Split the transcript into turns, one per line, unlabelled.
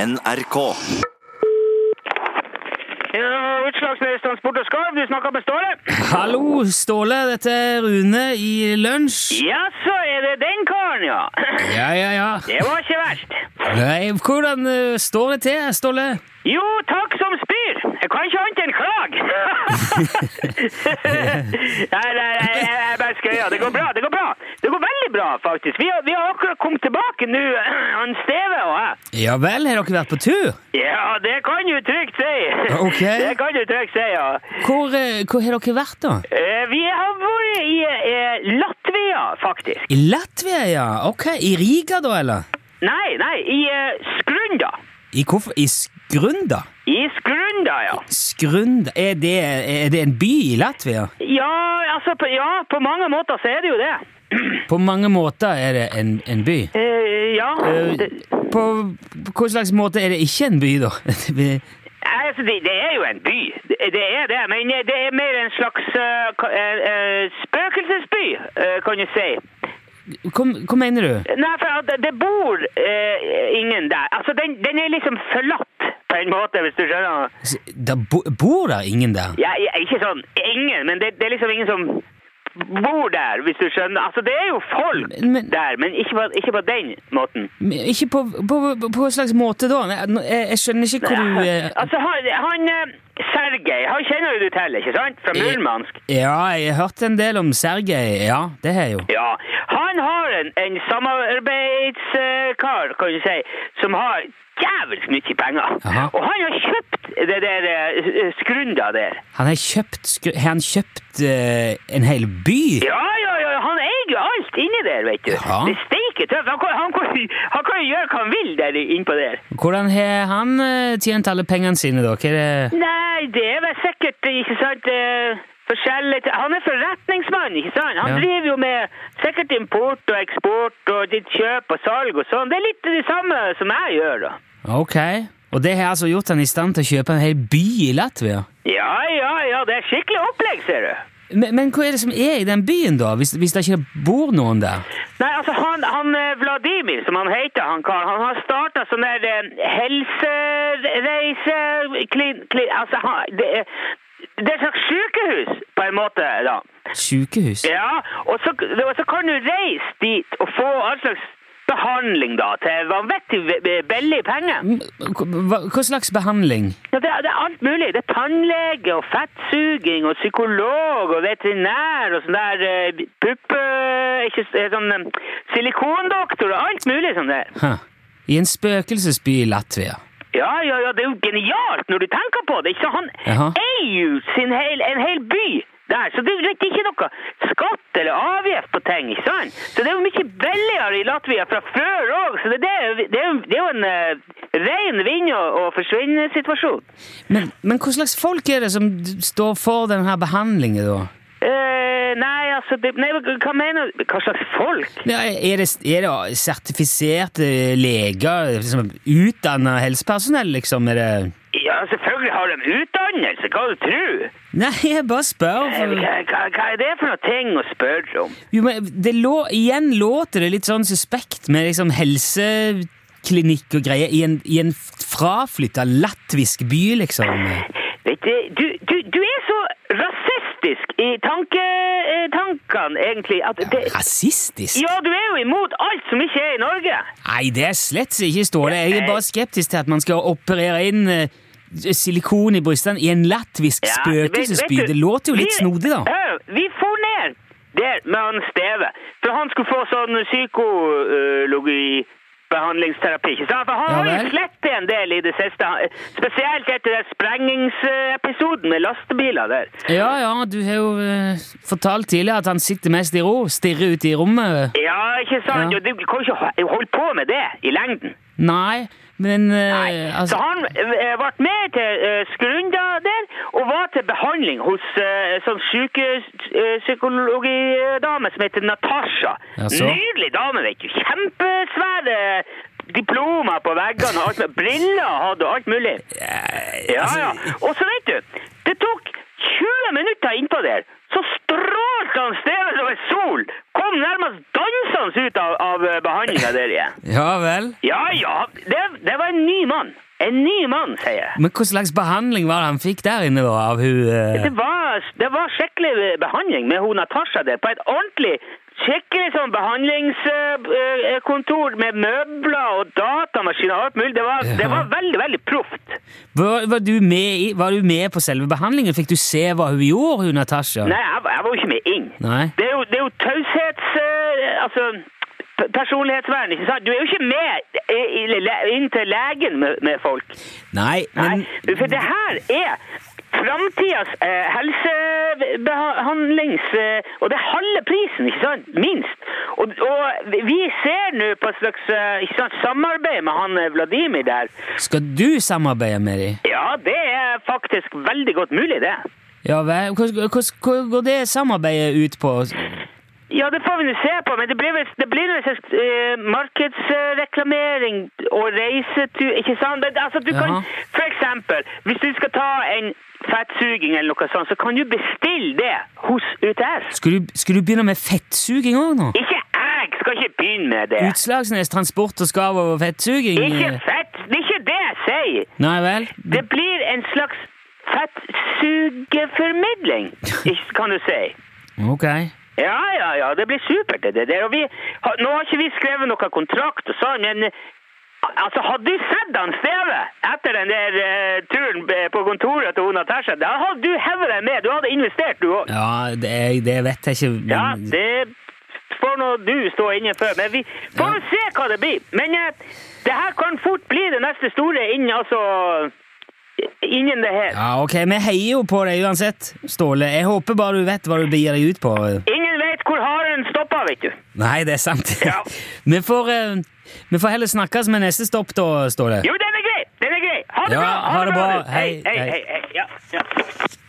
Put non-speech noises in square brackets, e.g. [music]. NRK.
Ja, Utslagsnes Transport og Skarv, du snakker med Ståle?
Hallo, Ståle. Dette er Rune i lunsj.
Ja, så er det den karen, ja.
Ja, ja, ja.
Det var ikke verst.
Nei, hvordan eh, står det til, Ståle?
Jo, takk som spyr. Jeg kan ikke annet enn klage. nei, nei, nei, jeg jeg bare skøyer. Det går bra, det går bra. Det går veldig bra, faktisk. Vi har, vi har akkurat kommet tilbake nå, [clears throat] han Steve og jeg.
Ja vel, har dere vært på tur?
Ja, det kan du trygt si.
Ok.
[laughs] Det kan du trygt si, ja.
Hvor, eh, hvor har dere vært, da?
Eh, Vi har vært i eh, Latvia, faktisk.
I Latvia, ja. Ok. I Riga, da, eller?
Nei, nei, i eh, Skrunda.
I, hvorfor? I Skrunda?
I Skrunda, ja.
Skrunda er det, er det en by i Latvia?
Ja, altså, på, ja, på mange måter så er det jo det. [clears throat]
På mange måter er det en, en by.
Eh, ja.
Eh,
Det,
På, på hva slags måte er det ikke en by, da? [laughs]
Nei, altså, det, det er jo en by. Det, det er det, men eh, det er mer en slags eh, ka- eh, eh, spøkelsesby, eh, kan du si.
Hva, hva mener du?
Nei, for at det- det bor eh, ingen der. Altså, den, den er liksom forlatt på en måte, hvis du skjønner.
S- Da bo, bor der ingen der?
Ja, ja, ikke sånn ingen, men det, det er liksom ingen som bor der, hvis du skjønner. Altså, det er jo folk
Men-
der, men ikke på, ikke på den måten.
Men Ikke på, på, på, på hva slags måte da? Nei, nå- Jeg, jeg skjønner ikke hvor du eh,
Altså, han, han eh, Sergej, han kjenner jo du til, ikke sant? Fra Murmansk.
Ja, jeg har hørt en del om Sergej. Ja, det har jeg jo.
Ja, han har en, en samarbeidskar, kan du si, som har jævlig mye penger.
Aha.
Og han har kjøpt det der eh, skrunda der.
Han har kjøpt, skru- har han kjøpt eh, en hel by?
Ja, ja, ja, han eier jo alt inni der, vet du.
Jaha.
Det steiker tøft. Han, kan- han, kan- han kan jo gjøre hva han vil der innpå der.
Hvordan har han eh, tjent alle pengene sine, da? Hva er det?
Nei, det er vel sikkert, ikke sant, eh, forskjellig. Han er forretningsmann, ikke sant? Han
Ja.
driver jo med sikkert import og eksport og ditt kjøp og salg og sånn. Det er litt det samme som jeg gjør, da.
Ok. Og det har altså gjort han i stand til å kjøpe en hel by i Latvia?
Ja, ja, ja, det er skikkelig opplegg, ser du.
Men, men hva er det som er i den byen, da? Hvis, hvis det ikke bor noen der?
Nei, altså, han, han eh, Vladimir, som han heter, han karen, han har startet sånn der eh, helsereise... Klin, klin, altså, han, det, er- det er et slags sykehus, på en måte, da.
Sykehus?
Ja, og så, og så kan du reise dit og få all slags behandling da, til vanvittig be- billig penge.
M- Hva, hva slags behandling?
Ja, det, er- det er alt mulig. Det er tannlege og fettsuging og psykolog og veterinær og sånn der eh, puppe... Ikke s- eh, sånn eh, silikondoktor og alt mulig sånn der.
Hæ. I en spøkelsesby i Latvia?
Ja, ja, ja, det er jo genialt når du tenker på det. Ikke? sant? Han
Jaha.
eier jo sin hel, en hel by der, så det er jo ikke noe skatt eller avgift på ting, ikke sant? Så det er jo mye billigere i Latvia fra før òg, så det, det, er jo- det, er jo- det er jo en eh, ren vinn- og, og forsvinn-situasjon.
Men, men hva slags folk er det som d- står for denne behandlingen, da?
Eh, nei, altså det, nei, Hva mener du? Hva slags folk?
Ja, Er det, er det sertifiserte leger, liksom utdanna helsepersonell, liksom? Er det
Ja, selvfølgelig har de utdannelse, hva du tror?
Nei, jeg bare spør.
Eh,
For,
Hva, hva, hva er det for noe ting å spørre om?
jo, men det lå, igjen låter det litt sånn suspekt med liksom helseklinikk og greier i en, i en fraflytta latvisk by, liksom.
Vet du, du, du, du er så rasistisk i tanke, eh, tankene, egentlig. At det,
Rasistisk?
ja, du er jo imot alt som ikke er i Norge.
Nei, det er slett ikke Ståle. Jeg er bare skeptisk til at man skal operere inn eh, silikon i brystene i en latvisk
Ja,
spøkelsesby.
vet- vet du,
Det låter jo litt
vi-
snodig, da.
Hør, vi for ned der med han Steve, for han skulle få sånn psykologi behandlingsterapi, ikke sant? For han
Ja
har jo
vel.
slett en del i det siste, han- spesielt etter den sprengingsepisoden med lastebiler der.
Ja, ja, du har jo eh, fortalt tidligere at han sitter mest i ro, stirrer ut i rommet.
Ja, ikke sant?
Ja.
Jo, Du kan jo ikke ho- holde på med det i lengden.
Nei, men eh,
Nei. Så
altså,
han eh, ble med til eh, Skrunda der, og var til behandling hos eh, sånn sykepsykologidame som heter Natasha.
Jaså?
Nydelig dame, vet du. Kjempesvære eh, diplomer på veggene, og alt med briller hadde og alt mulig.
eh,
Ja,
Altså-
ja. Og så vet du, det tok 20 minutter innpå der, så strålte han stedet som en sol. Kom kom nærmest dansende ut av, av behandlinga der igjen.
Ja vel.
Ja, ja, det, det var en ny mann. En ny mann, sier jeg.
Men hva slags behandling var det han fikk der inne, da? Av hun eh,
Det var, det var skikkelig behandling med hun Natasha der, på et ordentlig Skikkelig sånn behandlingskontor med møbler og datamaskiner og alt mulig. Det var, det var veldig, veldig proft.
var, var, du med i, var du med på selve behandlingen? Fikk du se hva hun gjorde, hun Natasha?
Nei, jeg, var- jeg var jo ikke med inn.
Nei.
Det er jo, det er jo taushets... eh, altså, p- personlighetsvern, ikke sant? Du er jo ikke med i- i- le- inn til legen med, med folk.
Nei, men
Nei, for det her er framtidas eh, helsebehandlings... Eh, og det er halve prisen, ikke sant? Minst. Og, og vi ser nå på et slags eh, ikke sant, samarbeid med han eh, Vladimir der.
skal du samarbeide med dem?
Ja, det er faktisk veldig godt mulig, det.
Ja vel. Hva, hva, hva går det samarbeidet ut på?
Ja, det får vi nå se på, men det blir vel det blir noe slags eh, markedsreklamering og reisetur, ikke sant? Det, altså, du kan,
Jaha.
for eksempel, hvis du skal ta en fettsuging eller noe sånt, så kan du bestille det hos UTS.
Skulle du, skulle du begynne med fettsuging òg nå?
Ikke jeg skal ikke begynne med det.
Utslagsnes transport og skav og fettsuging?
Ikke
eh,
fett, det er ikke det jeg sier.
Nei vel?
Det blir en slags fettsugeformidling, ikke- kan du si.
Ok.
Ja, ja, ja, det blir supert det der. Og vi, ha, nå har ikke vi skrevet noen kontrakt og sånn, men eh, altså, hadde du sett han Steve etter den der eh, turen eh, på kontoret til hun Natasha, da hadde du hevet deg med, du hadde investert du òg.
Ja, det, det vet jeg ikke. men-
Ja, det får nå du stå inne for, men vi får nå se hva det blir. Men eh, det her kan fort bli det neste store innen, altså, innen det her.
Ja, ok, vi heier jo på deg uansett, Ståle. Jeg håper bare du vet hva du begir deg ut på.
Ingen vet hvor haren stopper, vet du.
Nei, det er sant.
Ja.
[laughs] vi, får, eh, vi får heller snakkes med neste stopp da, Ståle.
Jo, den er grei! Den er grei! Ha det
Ja,
bra!
ha det bra.
du. Hei, hei, hei. hei. Ja, ja.